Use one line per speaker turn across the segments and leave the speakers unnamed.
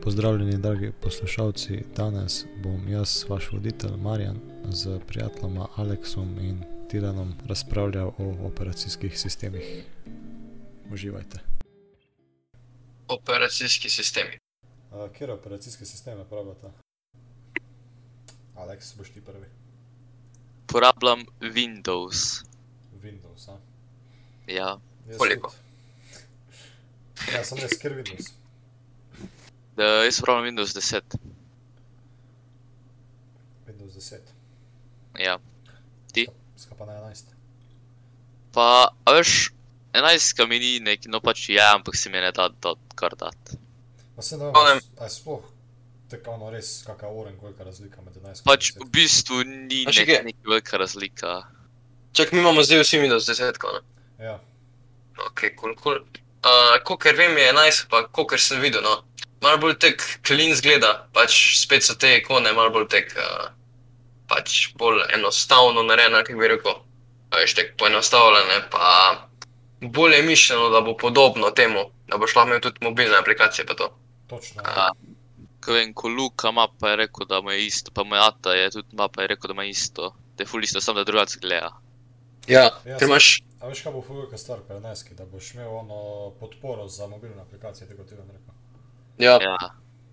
Pozdravljeni, dragi poslušalci. Danes bom jaz, vaš voditelj Marjan, z prijateljema Aleksom in Tiranom razpravljal o operacijskih sistemih. Uživajte.
Operacijski sistemi.
A, kjer operacijske sisteme pravite? Aleks, boš ti prvi.
Uporabljam Windows.
Windows, a?
Ja,
Jaz
Koliko?
tudi. Ja, sem jaz, ker Windows.
da, jaz uporabljam Windows 10.
Windows 10.
Ja. Ti?
Skapa na 11.
Pa, a veš, 11 mi ni nek, no pač je, ampak se mi ne da dot, kar dat.
Ma se ne vem,
Onem.
a je sploh tako ono res kakšna oren, kolika razlika med 11 in
Pač
10?
v bistvu ni
A še
nek,
kje?
neka velika razlika.
Čak, mi imamo zdaj vsi Windows 10, ko ne?
Ja,
Ok, kul, kul. Uh, Kolikor vem, je 11, pa kolikor sem videl, no. Mal bolj tek clean zgleda, pač spet so te ikone mal bolj tek, uh, pač bolj enostavno narejene, kako bi rekel. A Veš, tek poenostavljene, pa bolje je mišljeno, da bo podobno temu, da bo šla imel tudi mobilne aplikacije pa to.
točno. ja.
A,
Ko vem, ko Luka ima, pa je rekel, da mu je isto, pa moj ata je tudi ima, pa je rekel, da ima isto. Da je ful isto, samo da drugače gleda.
Ja,
Ja,
ker imaš
A veš, kaj bo fulgorka stvar pri 11, da boš imel ono podporo za mobilne aplikacije, tako ti bom rekel.
ja,
Ja,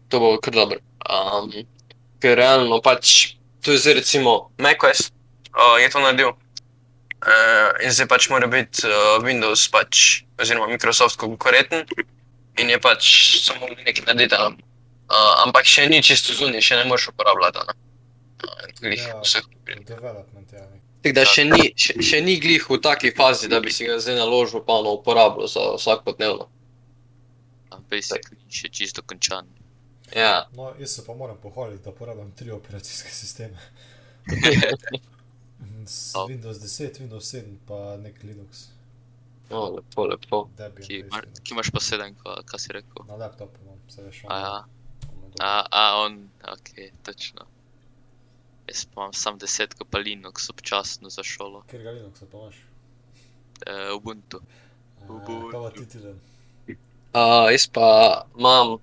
to bo kar dobro. Um, ker realno pač, to je zdaj recimo MacOS, uh, je to naredil. Uh, in zdaj pač mora biti uh, Windows, pač, oziroma Microsoft, konkurenten in je pač samo nekaj narediti. a ne. Uh, ampak še ni čisto zunaj, še ne moreš uporabljati. a ne. Uh, glih
Ja.
vseh.
Development ja, je nek.
Tako da še ni, še, še ni glih v taki fazi, da bi si ga zdaj naložil, pa ono uporabljal za vsakodnevno.
a basically še čisto končan.
Ja.
No, jaz se pa moram pohvaliti, da uporabljam tri operacijske sisteme. S
Oh.
Windows 10, Windows 7, pa nek Linux,
No, lepo, lepo.
Debian.
Ja,
Ki, ima,
veš,
ki imaš pa sedem, ka- kaj si rekel.
Na laptopu imam, se veš,
A ja.
ono dol-
A, a on, ok, točno. Jaz pa imam sam deset, ko pa Linux občasno za šolo,
Kjer ga Linux pa imaš?
e, Ubuntu. Ubuntu.
Kava ti ti dan.
Uh, jaz pa imam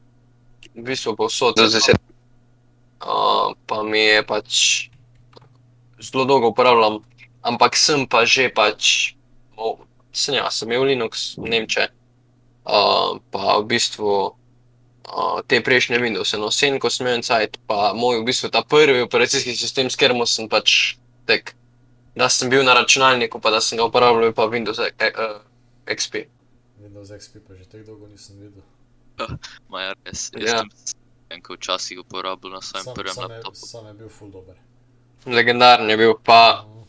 v bistvu povsod za deset. Uh, pa mi je pač zelo dolgo uporabljam, ampak sem pa že pač, oh, sem ja, sem imel Linux, Nemče, uh, pa v bistvu uh, te prejšnje Windows, no, sen, ko sem imel Insight, pa moj v bistvu ta prvi operacijski sistem, s katerim sem pač tek, da sem bil na računalniku, pa da sem ga uporabljal, je pa Windows eh, eh, XP.
Windows XP pa že tako dolgo nisem videl.
Maja res,
Ja.
jaz sem ja. včasih uporabljal na svojem prvem
sam, je,
laptopu.
sam je bil full dober.
Legendaren je bil, pa,
Mhm.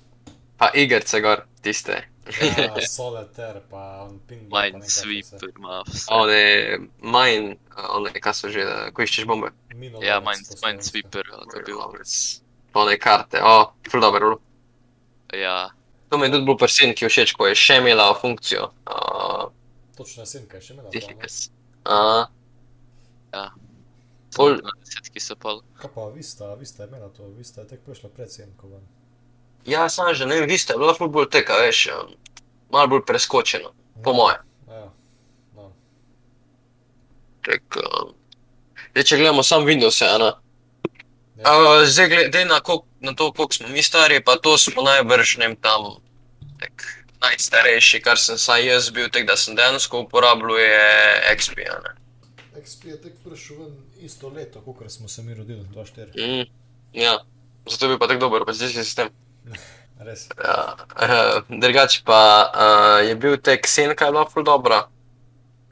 pa igrice gor, tiste.
Ja, Solitaire, pa on ping. pa nekaj vse.
Minesweeper ima vse.
One, mine, one, kaj so že, ko iščeš bombe.
Mino Lovec
Ja,
po
Mines-
slovensko.
Minesweeper, ali kaj je bilo.
One karte, o, ful dobro. bilo.
Ja,
To mi je tudi bilo prsen, ki je všeč, ko je še imela funkcijo. Uh,
Točno jesenka je še imela.
tih
to, ne?
igric. Uh, Pol-
na desetki so pol.
Kaj pa Vista, Vista je imela to, Vista je tek prišla pred senko ven.
ja, sam že, ne vem, vi ste, bila ful bolj teka, veš, um, malo bolj preskočeno, po moje.
Ja, no.
Tak, um, zdaj, če gledamo sam Windows, ena.
Ja.
Uh, zdaj, glede na, kolik, na to, koliko smo mi stari, pa to smo najbrž ne vem, tam tak, najstarejši, kar sem saj jaz bil, tek, da sem dejansko uporabljal, je XP. a ne.
XP je tek prišel ven isto leto, kot smo se mi rodili, 2-4.
Mm, ja. Zato je bil pa tako dober, pa zdaj je sistem.
Res.
Ja, eh, drugače pa eh, je bil tek senka, je bila ful dobra.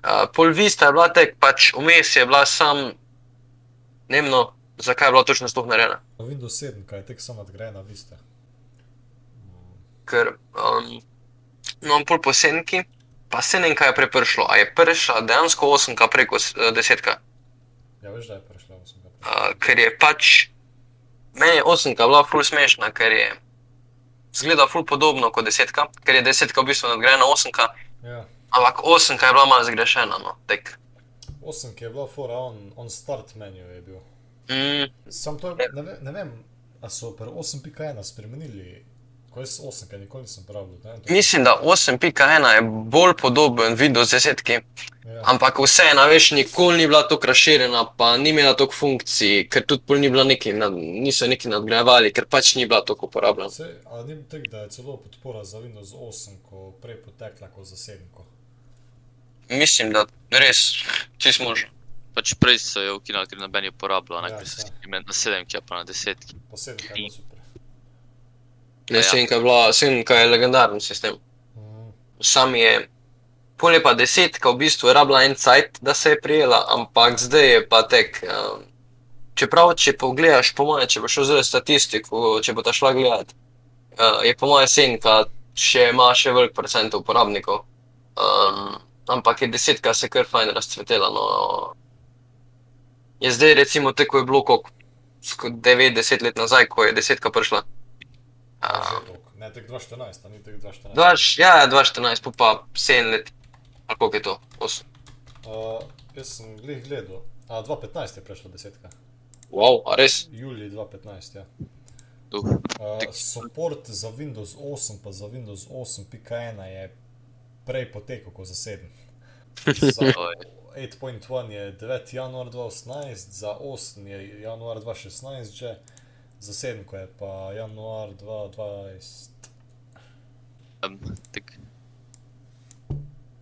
Eh, Pol vista je bila tek, pač vmes je bila sam, ne vem, no, zakaj je bila točno sploh narejena.
No, Windows 7, kaj je tek samo nadgrajena Vista.
ker um, imam pol posenki, pa se ne vem, kaj je prepršlo. A je prša dejansko osemka preko s- eh, desetka,
Ja, veš, da je prišla 8.
uh, ker je pač meni je osemka bila ful smešna, ker je zgleda ful podobno kot desetka, ker je desetka v bistvu nadgrajena osemka,
Ja.
ampak osemka je bila malo zgrešena. No, tek.
8 je bila fora, on, on start menu je bil.
Mm,
Sam to, je- ne, ve, ne vem, a so pri 8.1 spremenili Ko je 8, kaj nikoli nisem pravil. ne, to-
Mislim, da 8.1 je bolj podoben Windows 10,
Ja.
ampak vseeno, veš, nikoli ni bila tako razširjena, pa ni imela toliko funkcij, ker tudi pol ni bila neki, nad, niso neki nadgrajevali, ker pač ni bila tako uporabljena.
Se, a ni tako, da je celo podpora za Windows 8, ko prej potekla kot za 7. Ko.
Mislim, da res, če smo že.
Pač prej so jo ukinili, ker noben je uporabljal,
Ja,
ne, ker so
ja.
skimeli na sedemki, pa na desetki.
Po 7 je bilo super.
Ne,
Ja.
senka je bila, senka je legendaren sistem.
Mm.
Sam je, pol je pa desetka, v bistvu je rabila en cajt, da se je prijela, ampak zdaj je pa tek. Um, čeprav, če pogledaš, po mojem, če bo šel zdaj statistiko, če bo ta šla gledat, uh, je po mojem senka še ima še velik procent uporabnikov. Um, ampak je desetka se kar fajn razcvetela. No. Je zdaj recimo tako je bilo, kot 9-10 let nazaj, ko je desetka prišla. Um,
Že toliko. Ne, tek 2.14, a ni tek 2.14.
Dva, š- ja, ja, 2014, pol pa 7 let, ali koliko je to? Osem.
Uh, jaz sem glih gledal, a 2.15 je prešlo desetka.
Wow, a res?
Julij 2.15, ja.
Uf.
Uh, support za Windows 8 pa za Windows 8.1 je prej potekel kot za 7. Za
Oj.
8.1 je 9. januar 2018, za 8 je januar 2016 že, za 7 ko je pa januar 2020.
Um, tak.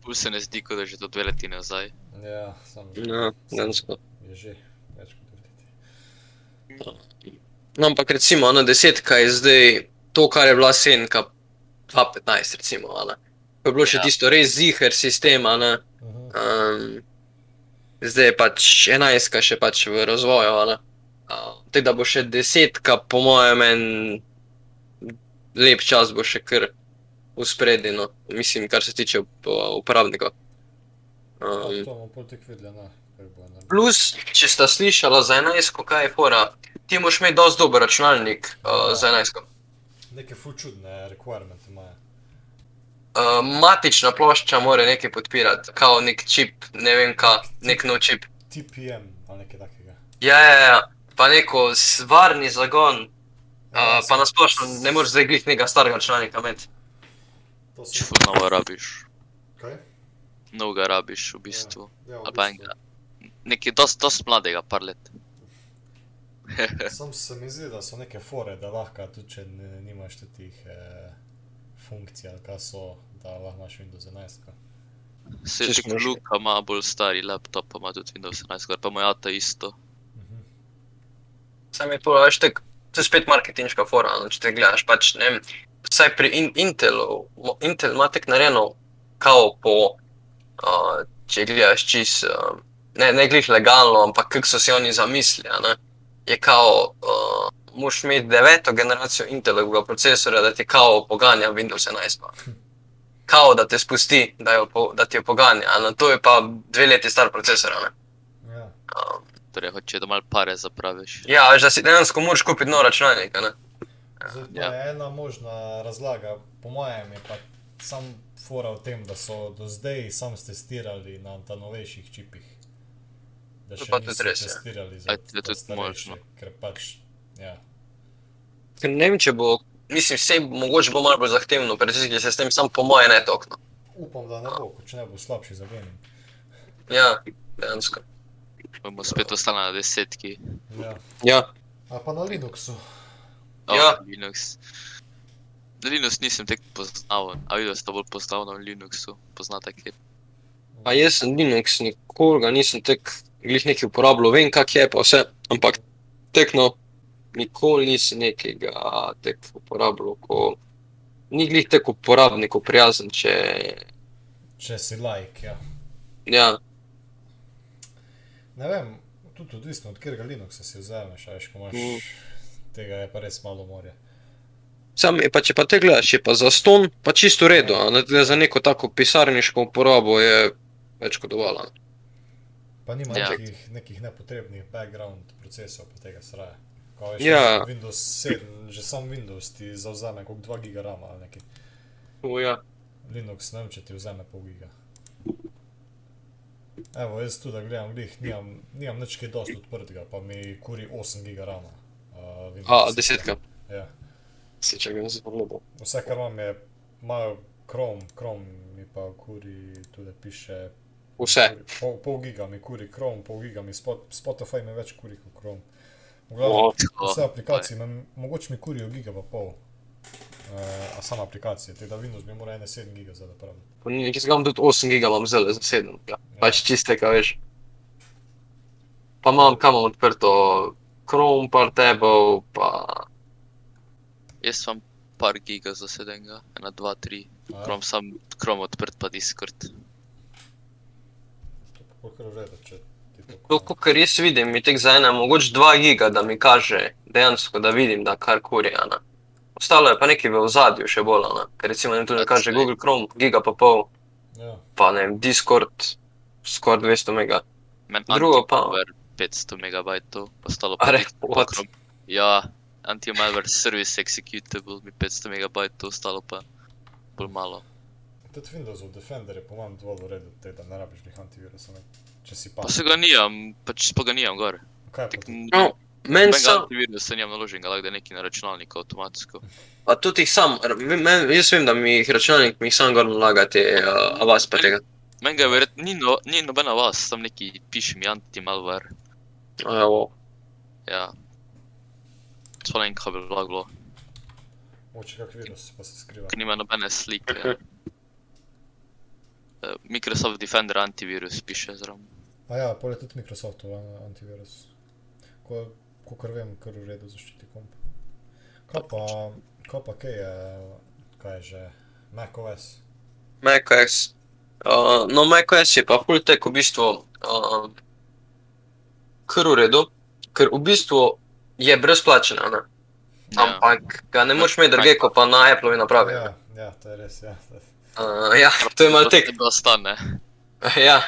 Pul se ne zdi, kot da je že to dve leti nazaj.
Ja, sam
Ja, dejansko.
je že več kot videti.
No, ampak recimo, ona desetka je zdaj to, kar je bila senka 2015, recimo, ali. Ko je bilo še
Ja.
ja. tisto res ziher sistema, ne.
Mhm.
Um, zdaj je pač enajstka še pač v razvoju, ali. Uh, Tako da bo še desetka, po mojem, en lep čas bo še kar uspredino, mislim, kar se tiče up- uporabnikov. Um,
Ja, To bomo potek videli, ne, kaj bo no. naredil.
Plus, če sta slišala za 11, kaj je fora, ti moraš imeti dosti dober računalnik uh, za 11.
Neke ful čudne requirements imajo.
Uh, matična plošča mora nekaj podpirati, kao nek čip, ne vem kaj, nek nov čip.
TPM ali nekaj takega.
Ja, ja, ja, pa neko s- varni zagon,
Ja,
uh, pa nasplošno ne moreš zdaj glih nekega starega računalnika imeti.
To
Če
so...
ful novo rabiš.
Kaj?
Novega rabiš v bistvu.
Ja, v
Ali
bistvu.
pa enega. Nekaj dost, dost mladega, par let.
Sam se mi zdi, da so neke fore, da lahko tudi če ne, nimaš teh eh, funkcij, ali kaj so, da lahko imaš Windows 11. ko.
Se
Če
že
smo že-
Luka ima bolj stari laptop, pa ima tudi Windows 11, gor pa moj ata isto.
Mhm.
Sam je to, veš, tek, to je spet marketinška fora, no, če te gledaš. Pač, ne, vem, vsaj pri in, Intelu, mo- Intel ima tek narejeno, kao po, uh, če gledaš čist, uh, ne, ne glih legalno, ampak kako so si oni zamislili. a Ne, je kao, uh, moš imeti deveto generacijo Intelovega procesorja, da ti kao poganja Windows 11. pa. Kao da te spusti, da, jo, po- da ti jo poganja, a na to je pa dve leti star procesor. a ne.
Ja.
Um,
Torej, hoče da mal pare zapraviš.
ja, veš, da si dejansko moraš kupiti nov računalnik. a ne.
Zdaj, pa
Ja.
je ena možna razlaga, po mojem, je pa sam fora v tem, da so do zdaj sam testirali na ta novejših čipih. Da
To
še
pa tudi
niso
res, ja.
testirali
A
za
je tudi
za starejše,
možno.
Ker pač, ja.
Ker ne vem, če bo, mislim, vse mogoče bo malo bolj zahtevno, predvsem se s tem, sam po moje, ne no. tokno.
Upam, da ne bo, ko če ne bo slabši za gaming.
Ja, dejansko.
Bomo spet ostali na desetki.
Ja.
Ja.
A pa na Linuxu.
Oh,
Ja.
Linux. Linux nisem tek poznal, a videl sem to bolj poznal na Linuxu, poznate kaj.
A jaz sem Linux, nikoli ga nisem tek, glih nekaj uporabljal, vem kak je, pa vse, ampak tekno, nikoli nisem nekega tek uporabljal, ko ni glih tek uporabniku prijazen, če,
Če si like, ja.
ja,
Ne vem, tudi odvisno od katerega Linuxa si vzameš, a veš, ko imaš. Tega je pa res malo morja.
Sam je pa, če pa te gledaš, je pa za ston, pa čisto v redu, a ne, Tule za neko tako pisarniško uporabo je več kot dovolj. a ne.
Pa nima
Ja.
ja. nekih, nekih nepotrebnih background procesov, pa tega sraja. Ko veš,
Ja.
ja. Windows 7, že sam Windows ti zauzame kot 2 giga rama ali nekaj.
Uja.
Linux ne vem, če ti vzame pol giga. Evo, jaz tudi da gledam, glih, nimam, nimam nič kaj dosti odprtega, pa mi kuri 8 giga rama. Uh,
A, desetka.
Ja.
si, čakaj, nisem pogledal.
Vse, kar imam, je malo krom, krom mi pa kuri, tudi piše.
Vse.
Pol, pol giga mi kuri krom, pol giga mi spot, Spotify mi več kuri kot krom.
O,
Vse aplikacije, imam, mogoče mi kurijo giga pa pol. Uh, a samo aplikacije, tega Windows bi moral 1,7 giga zdaj uporabljati.
pa ni nekaj, imam tudi 8 giga, imam zelo za 7, ja. pač čiste, kaj veš. Pa imam kam imam odprto, Chrome, par tabov, pa
Jaz imam par giga za sedenga, ena, dva, tri.
A,
Krom sam, krom odprt pa Discord.
To pa kar ureda, če ti
to, kar jaz vidim, mi tek za ena, mogoče 2 giga, da mi kaže dejansko, da vidim, da kar kurje, a ne. Ostalo je pa nekaj v ozadju še bolj, a ne. ker recimo ne tudi kaže Google Chrome, giga pa pol,
Ja,
pa ne vem, Discord, skoraj 200 mega.
Men
Drugo pa-
anti-malware 500 megabajtov, ostalo
A
pa
re,
Discord
what?
Chrome. Ja, anti-malware service executable mi 500 megabajtov, ostalo pa bolj malo.
tudi Windowsov Defender je po mojem dovolj ureda, da ne rabiš njih antivirusa, ne? če si pa.
Pa se ga nijam, pač pa ga nijam gor.
Kaj pa
Tak,
ti?
No, meni
Nobenega
sem,
antivirusa nimam naloženega, lahko da je nekaj na računalniku avtomatsko.
pa tudi jih sam, r- men, jaz vem, da mi jih računalnik mi jih sam gor nalaga te, uh, a vas pa tega.
Meni ga verjetno ni, no, ni nobena vas, tam neki piše mi anti-malware.
Uh, wow.
Ja. Spomnim, kaj bi bilo,
Moče kak virus, pa se skriva.
ker nima nobene slike. ja. Eh, Microsoft Defender antivirus piše zraven.
A ja, pol je tudi Microsoftov an- antivirus. Ko, ko kar vem, kar v redu zaščiti komp. Kaj pa, kaj pa, kaj je, kaj je že, macOS?
MacOS. Uh, no, MacOS je pa fulltek v bistvu uh, kar v redu, ker v bistvu je brezplačen, a ne?
Ja.
ampak ga ne moreš imeti druge kot pa na Apple napravi.
Ja, ja, to je res, ja.
Uh, ja, to je malo tek.
Da stane.
Ja,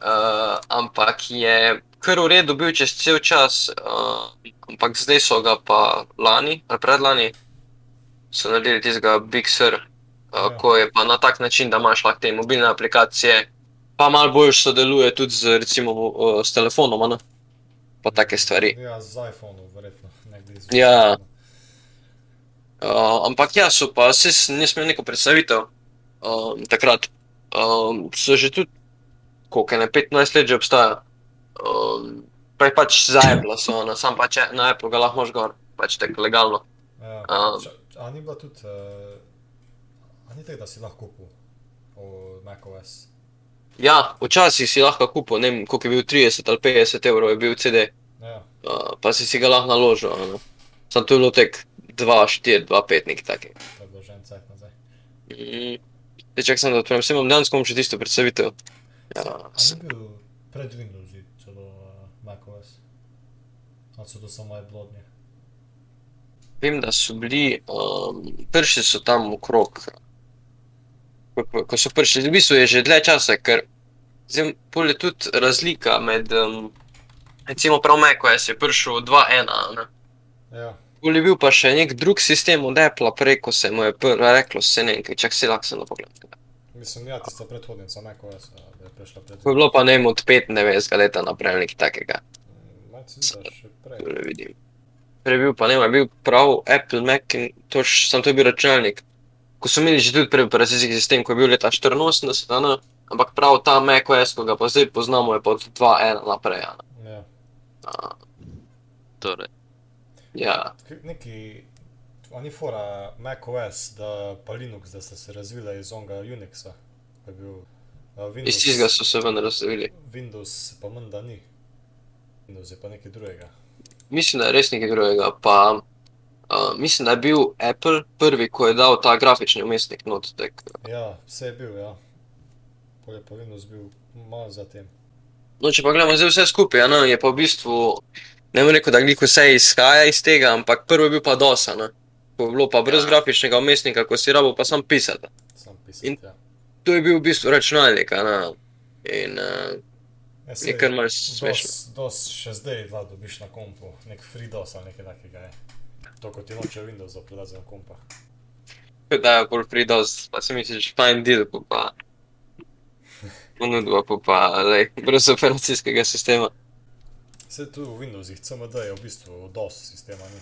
uh, ampak je kar v redu bil čez cel čas, uh, ampak zdaj so ga pa lani ali predlani, so naredili tistega Big Sur, uh,
Ja.
ko je pa na tak način, da imaš lahko te mobilne aplikacije, pa malo bolj sodeluje tudi z, recimo, uh, s telefonom, a ne? pa take stvari.
Ja, z iPhonom, verjetno, nekde iz
Ja. Uh, ampak ja, so pa, se nisem imel neko predstavitev uh, takrat. Um, so že tudi, koliko je ne 15 let že obstaja. Um, prej pač za Apple so, na, sam pač je- na Apple ga lahko možeš gor, pač tako legalno.
Ja.
Um.
Ča- A ni bila tudi, uh, a ni tega, da si lahko kupil o macOS?
Ja, včasih si lahko kupil, ne vem, koliko je bil 30 ali 50 evrov, je bil CD,
Ja,
uh, pa si si ga lahko naložil. a ne. Sam tu je bilo tek 2, 4, 2, 5 nek taki.
to je bilo že en cajt nazaj.
Mm. Zdaj čakaj sem, da odprem, sem imam danes kom še tisto predstavitev. Ja,
A
s-
ni bil pred Windowsi celo uh, macOS? Ali so to samo moje blodnje?
Vem, da so bili, um, prišli so tam okrog. Ko, ko- ko so prišli, v bistvu je že dlje časa, ker zdaj pol je tudi razlika med, um, recimo prav MacOS je prišel 2.1.
Ja,
Pol je bil pa še nek drug sistem od Apple, preko se mu je pr- reklo, se ne, vem, čak si lahko sem pogledal.
mislim, ja, tista predhodnica macOS, a, da je prišla pred
To je bilo pa ne vem, od 95 leta naprej ali nekaj takega.
Mm, Malce se da še prej.
Tole vidim. Prej je bil pa ne, vem, je bil prav Apple Mac in toč, sam to je bil računalnik. Ko so imeli že tudi prvi operacijski sistem, ko je bil leta 84, a ne, ampak prav ta Mac OS, ko ga pa zdaj poznamo, je pa od 2.1 naprej. a ne.
Ja.
A,
Torej,
Ja,
K- Neki, a ni fora macOS, da pa Linux, da sta se razvila iz onega Unixa. ko je bil, a, Windows-
iz tistega so se ven razvili.
Windows pa menda ni. Windows je pa nekaj drugega.
Mislim, da je res nekaj drugega. Pa, uh, mislim, da je bil Apple prvi, ko je dal ta grafični umestnik not. Tak,
Ja, vse je bil, ja. Pol je pa Windows bil malo zatem.
No, če pa gledamo zdaj vse skupaj, a ne, je pa v bistvu, ne bom rekel, da gliko vse izhaja iz tega, ampak prvo je bil pa DOS, a ne. ko je bilo pa brez
Ja.
grafičnega umestnika, ko si rabo pa sam pisati.
Sam pisati,
In-
ja.
To je bil v bistvu računalnik, a ne. In uh,
Ja,
je
saj
kar malce smešno.
DOS, DOS še zdaj dva dobiš na kompu, nek FreeDOS ali nekaj takega je. To kot ti noče Windows za prelazem kompa.
Tako Da je bolj pri DOS, pa si misliš, fajn deal, pa pa. Ponudba pa pa, lej, brez operacijskega sistema.
Vse tu v Windowsih, CMD je v bistvu DOS sistema, ni?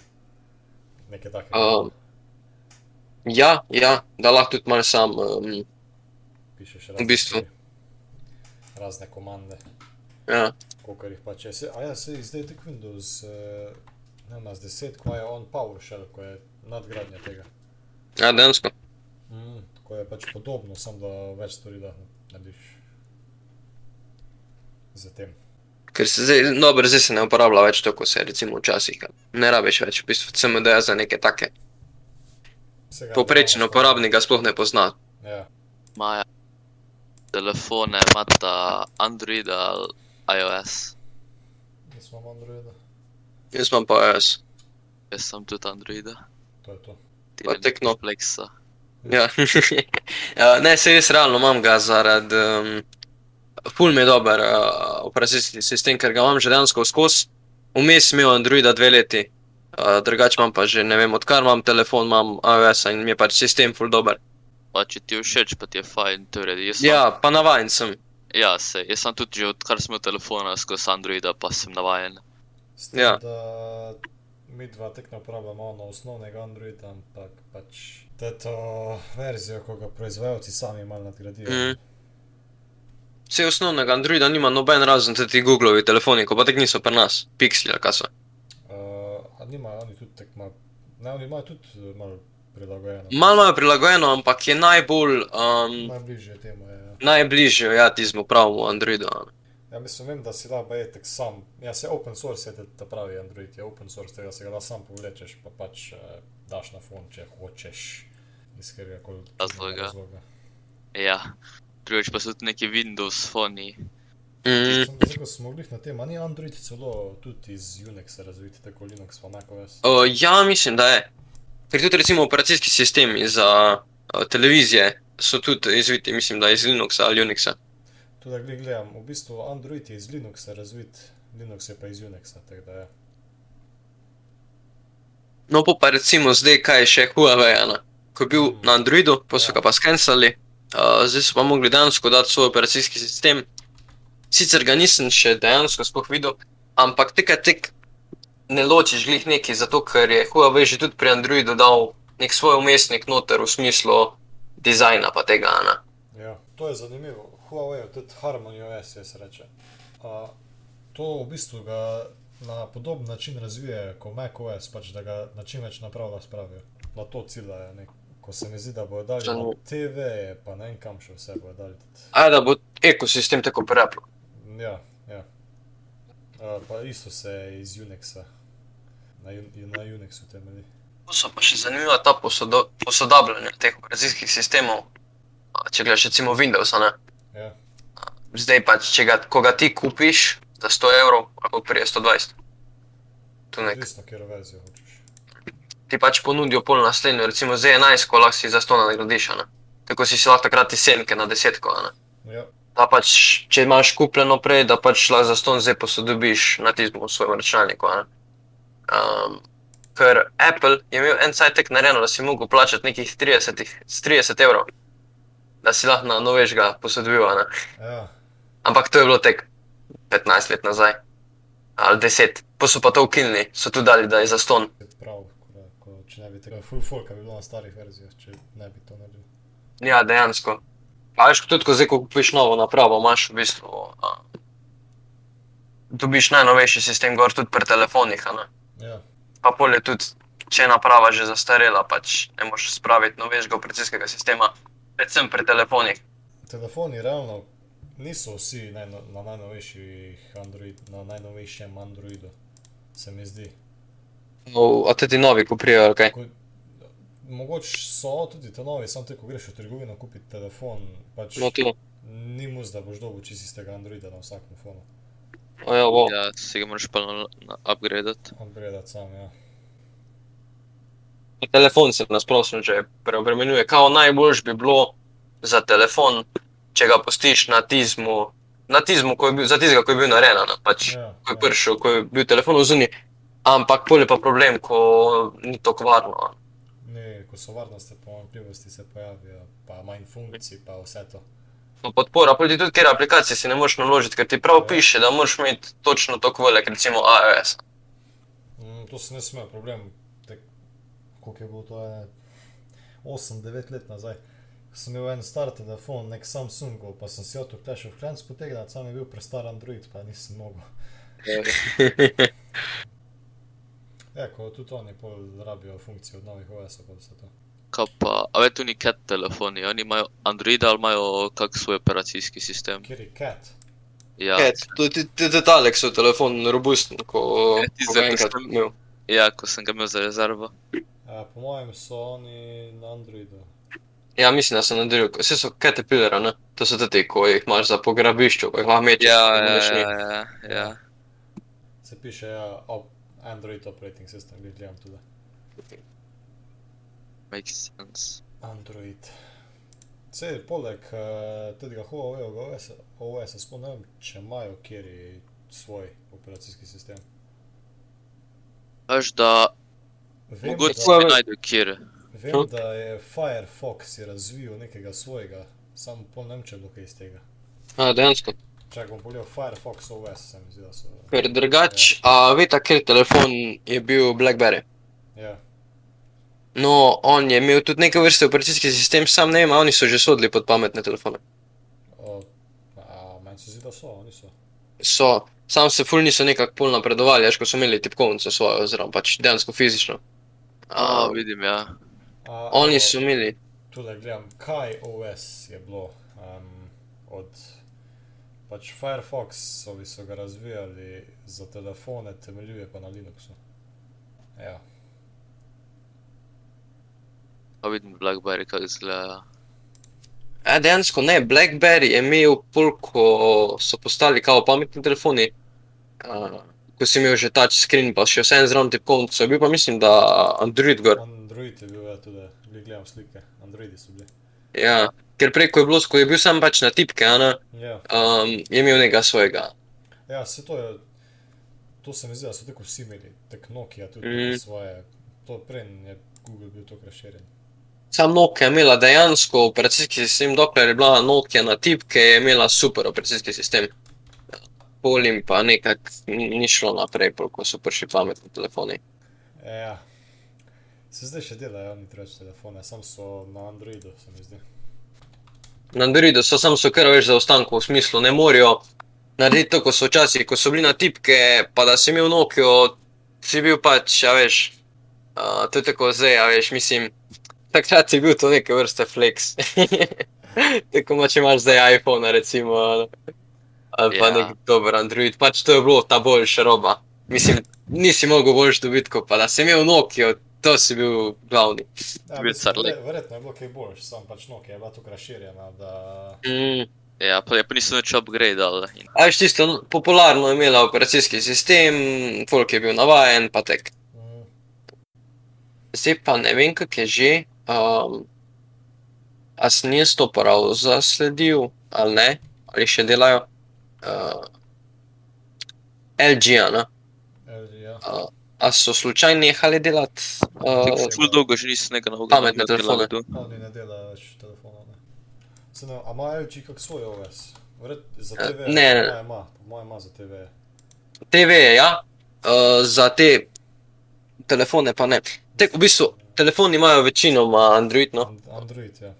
Nekaj takega.
Um, Ja, ja, da lahko tudi malo sam. Um,
Pišeš
V bistvu.
stvari, razne komande,
ja.
koliko jih pač je. Se, a ja, se zdaj je tako Windows, eh, ne vem, z 10, ko je on PowerShell, ko je nadgradnja tega.
ja, dejansko.
Mm, ko je pač podobno, samo da več stvari da narediš. Zatem.
Ker se zdaj, dobro, zdaj se ne uporablja več tako, kot se je recimo včasih. Ne rabiš več, v bistvu CMD za neke take.
Vsega
Poprečen
ogromno
uporabnik ga sploh ne pozna.
stvari. Ja,
Maja. Telefone imata Android ali iOS.
jaz imam Androida,
Jaz imam pa jaz.
Jaz sem tudi Androida.
to je to.
Ti
Pa no.
ne
tekno.
Flexa.
Ja. Ja, ne, se res realno imam ga zaradi. Um, Ful mi je dober uh, operacijski sistem, ker ga imam že dejansko skozi. Vmes sem imel Androida dve leti, uh, drugače imam pa že ne vem, odkar imam telefon, imam iOS in mi je pač sistem ful dober.
Pa če ti je všeč, pa ti je fajn, torej jaz sem.
Ja, pa navaden sem.
ja se, jaz sem tudi že odkar sem imel telefona skozi Androida, pa sem navajen.
S tem,
Ja.
da mi dva tek ne uporabljamo ono osnovnega Androida, ampak pač to verzijo, ko ga proizvajalci sami malo nadgradijo.
Mhm. Vse osnovnega Androida nima noben razen te ti Googlovi telefoni, ko pa tek niso pri nas, Pixli ali kaj so.
Uh, a nimajo oni tudi tako malo, ne, oni imajo tudi eh, malo prilagojeno.
Malo je prilagojeno, ampak je najbolj um,
Najbližje temu je. Ja.
najbližje, ja, tizmu pravemu Androidu.
ja, mislim, vem, da si da baje tak sam. Ja, se open source je ta- ta pravi Android, je open source, tega se ga da sam povlečeš, pa pač eh, daš na fon, če hočeš. Iz katerega koli
Razloga. Ja. Drugič pa so tudi neki Windows foni.
Mm.
Sem rekel, smo mogli na tem, a ni Android celo tudi iz Unixa razviti, tako Linux, pa macOS.
O, ja, mislim, da je. Ker tudi recimo operacijski sistemi za o, televizije so tudi izviti, mislim, da iz Linuxa ali Unixa.
Tudi gled, gledam, v bistvu Android je iz Linuxa razvit, Linux je pa iz Unixa, tako da je.
No, pol pa recimo zdaj, kaj je še Huawei, ne? ko je bil na Androidu, pa so
Ja.
ga pa skenirali, uh, zdaj so pa mogli dejansko dati svoj operacijski sistem. Sicer ga nisem še dejansko sploh videl, ampak tega tek ne ločiš glih neki, zato ker je Huawei že tudi pri Androidu dal nek svoj umestnik noter v smislu dizajna pa tega, ne.
Ja, to je zanimivo. Huawei, tudi Harmony OS je se reče. A, to v bistvu ga na podoben način razvije kot macOS, pač da ga na čim več napravlja spravijo. Na to ciljajo. nek- Ko se mi zdi, da bodo dali na
Zanimivo.
TV, je pa ne vem kam še vse bodo dali. tudi.
A da bo ekosistem tako preplo.
Ja, ja. A, pa isto se je iz Unixa. Na, Ju- na Unixu temelji.
Tu so pa še zanimiva ta posodo, posodabljanja teh operacijskih sistemov. A, Če gledaš recimo Windows, a ne?
Ja.
zdaj pač, če ga, ko ga ti kupiš za 100 evrov, lahko prije 120. Tu nek.
Odvisno, kjer verzijo hočeš.
Ti pač ponudijo pol naslednjo, recimo z 11, ko lahko si za 100 nagradiš, a ne? tako si si lahko takrat ti senke na 10, ko ne.
Ja,
Da pač, če imaš kupljeno prej, da pač lahko za 100 zdaj posodobiš na tistem svojem računalniku. a ne. Um, ker Apple je imel en sajtek narejeno, da si mogel plačati nekih 30, s 30 evrov, da si lahko na novejšega posodobil. a ne.
ja.
Ampak to je bilo tek 15 let nazaj, ali 10, pa so pa to ukinili, so tudi dali, da je za ston.
je prav, ko, da- ko, če ne bi tega full folka bi bilo na starih verzijah, če ne bi to naredil.
Ja, dejansko. Pa veš, tudi ko zdaj, ko kupiš novo napravo, imaš v bistvu. A, dobiš najnovejši sistem, gor tudi pri telefonih, a ne.
Ja.
pa polje tudi, če je naprava že zastarela, pač ne moreš spraviti novejšega operacijskega sistema, predvsem pri telefonih.
Telefoni realno niso vsi najno, na, najnovejših Android, na najnovejšem Androidu, se mi zdi.
No, a tudi novi kupijo, kaj?
Ko, mogoče so tudi te novi, samo te, ko greš v trgovino kupiti telefon, pač
No, tu.
ni mus, da boš dobil čist istega Androida na vsakem fonu.
O, ja, wow.
Ja, si ga moraš pa na, na upgradat.
Upgradat sam, ja.
Telefon se nasplošno že preobremenjuje. Kao najboljš bi bilo za telefon, če ga postiš na tizmu, na tizmu, ko je bil, za tizga, ko je bil narejen, a ne, pač,
Ja,
ko je
ja.
prišel, ko je bil telefon v zunji. Ampak pol je pa problem, ko ni tako varno. no.
Ne, ko so varnostne pomanjkljivosti se pojavijo, pa manj funkcij, pa vse to.
No, podpora, pa ti tudi kjer aplikacije si ne moreš naložiti, ker ti prav
Ja.
piše, da moraš imeti točno tako velik, recimo iOS.
Mm, to se ne sme, problem, tak, koliko je bilo to, je, 8-9 let nazaj. Sem imel en star telefon, nek Samsungov, pa sem si otok Clash of Clans potegnil, sam je bil prestar Android, pa nisem mogel. Ja, ko tudi oni pol rabijo funkcijo od novih OS-ov, pa vse to.
Kaj pa, a veš, tu ni cat telefoni, oni imajo Android ali imajo kak svoj operacijski sistem.
Kjer je cat?
Ja,
Tudi detalek so telefon robusten, ko
Ja, ti
ko
zdaj
ga enkrat
predstavljam.
imel.
ja, ko sem ga imel za rezervo.
Ja, po mojem so oni na Androidu.
Ja, mislim, da sem nadaljeval. Vse so caterpillar, ne? To so te, ko jih imaš za pograbišču, ko jih imaš meče.
Ja, ja, ja, ja, ja.
Se piše ja, op, Android operating system, glih gledam tudi.
makes sense.
Android. Vse poleg eh, tega Huawei OS-a spomnim, če imajo kjer svoj operacijski sistem.
Veš, da
Vem,
mogoče
da,
se najdu kjer.
vem, da je Firefox je razvil nekega svojega, samo po nemčem dokaj iz tega.
A, dejansko.
Čakaj, bom pogledal Firefox OS, se mi zdi, da so.
Ker drugač, a veste, ker telefon je bil Blackberry.
Ja,
No, on je imel tudi neke vrste operacijski sistem, sam ne vem, a oni so že sodili pod pametne telefone.
o, a meni se zdi, da so, oni so.
So, sam se ful niso nekako pol napredovali, až ko so imeli tipkovnico svojo, oziroma pač dejansko fizično.
A,
A,
vidim, ja.
A,
oni
evo,
so imeli,
Tule gledam, kaj OS je bilo um, od. Pač Firefoxovi so ga razvijali za telefone, temeljuje pa na Linuxu. Ja,
A vidim Blackberry, kako izgleda.
a dejansko ne, Blackberry je imel pol, ko so postali kao pametni telefoni, a, ko si imel že touch screen, pa še vse en zraven tipkovnico, je bil pa mislim, da Android gor.
Android je bil ja, tudi, glih gledam slike, Androidi so bili.
Ja, ker preko je bilo, ko je bil sam pač na tipke, a ne,
Ja,
um, je imel nekega svojega.
ja se to je, to se mi zdi, da so tako vsi imeli, tako Nokia tudi
Mhm.
mm. svoje, to prej je Google bil tako razširjen.
Sam Nokia je imela dejansko operacijski sistem, dokler je bila Nokia na tipke, je imela super operacijski sistem. Polim pa nekako ni ni šlo naprej, pol ko so prišli pametni telefoni.
Ja, se zdaj še delajo, oni treč telefone, sam so na Androidu, se mi zdi.
Na Androidu so samo so kar več zaostankov v smislu, ne morejo narediti to, ko so včasih, ko so bili na tipke, pa da si imel Nokio, si bil pač, ja veš, uh, to je tako zdaj, ja veš, mislim, takrat je bil to neke vrste flex. tako ma, če imaš zdaj iPhone, recimo, ali- ali pa
Ja.
ja. nek dober Android, pač to je bilo ta boljša roba. Mislim, nisi mogel boljš dobiti, kot pa da si imel Nokio, to si bil glavni.
Ja,
Bil
mislim,
Carly.
vre- Verjetno je bilo kaj boljš, sam pač Nokia je bila tako razširjena, da
Mm.
Ja, pa, ja, pa niso nič upgradeali. In,
A veš, tisto no, popularno je imela operacijski sistem, folk je bil navajen, pa tek.
mm,
Zdaj pa ne vem, kak je že. Um, a sem jaz to prav zasledil, ali ne, ali še delajo. Uh, LG, ne?
eh, ja.
Uh, a so slučajno nehali delati? Uh,
tako ful dolgo že niso nekaj novega.
Pametne
naredili,
telefone.
tu.
oni ne delajo več telefonov. ne. Se ne, a imajo LG kak svoj OS? Vred, za
Eh,
TV?
ne, ne.
Po moje ima, po moje ima za TV.
TV, ja, uh, za te telefone pa ne. Tek, v bistvu, telefoni imajo večinoma Android, no.
And, Android, ja.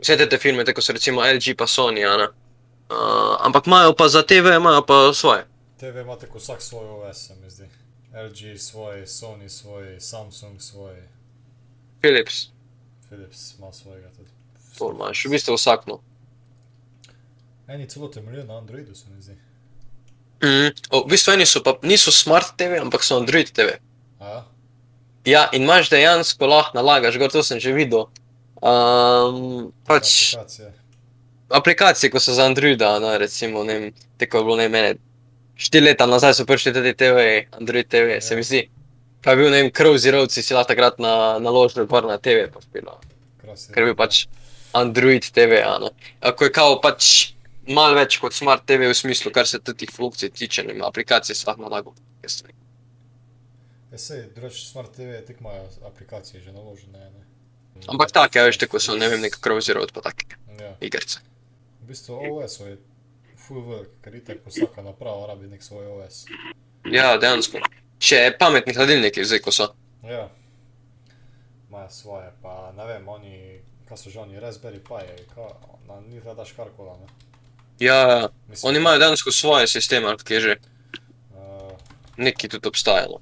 Vse te, te filme, tako so recimo LG pa Sony, a ne. Uh, ampak imajo pa za TV, imajo pa svoje.
TV ima tako vsak svoj OS, se mi zdi. LG svoj, Sony svoj, Samsung svoj,
Philips,
Philips ima svojega tudi.
to imaš, v bistvu no. vsakno.
Eni celo temeljijo na Androidu, se mi zdi.
Mm. O, v bistvu eni so pa, niso smart TV, ampak so Android TV.
A ja?
Ja, in imaš dejansko lahko nalagaš, gor to sem že videl. Um, pač
Aplikacije.
aplikacije, ko so za Androida, no, recimo, ne vem, tako je bilo ne mene. Štiri leta nazaj so prišli tudi TV, Android TV, se mi zdi. Pa je bil, ne vem, Crowzy Road, si si lahko takrat na, naložil gor na TV, pa spilo.
Krasi,
ker je bil pač Android TV. a ne. Ko je kao pač malo več kot smart TV v smislu, kar se teh funkcij tiče, ne vem, aplikacije slah nalago.
Ja, sej, drugače Smart TV tekmajo aplikacije že naložene. Ne?
Ampak take, a veš, tako so, ne vem, neka Crowzer od pa take
Ja.
igrice.
V bistvu OS je full velik, ker itek vsaka naprava rabi nek svoj OS.
Ja, dejansko. Še pametni hladilniki, zdaj ko so.
Ja. Maja
ima svoje, pa ne vem, oni, kaj so že oni, Raspberry Pi, kaj, na njih daš karkoli, ne?
Ja, ja.
Mislim,
Oni imajo dejansko svoje sisteme, ali kaj že
Uh,
neki tudi obstajalo.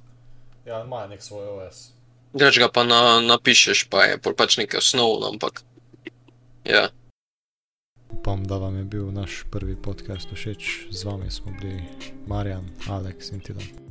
ja, imajo nek svoj OS.
Drugač ga pa na, napišeš, pa je pol pač nekaj osnovno, ampak. Ja,
Upam, da vam je bil naš prvi podcast všeč. Z vami smo bili Marjan, Aleks in Tidan.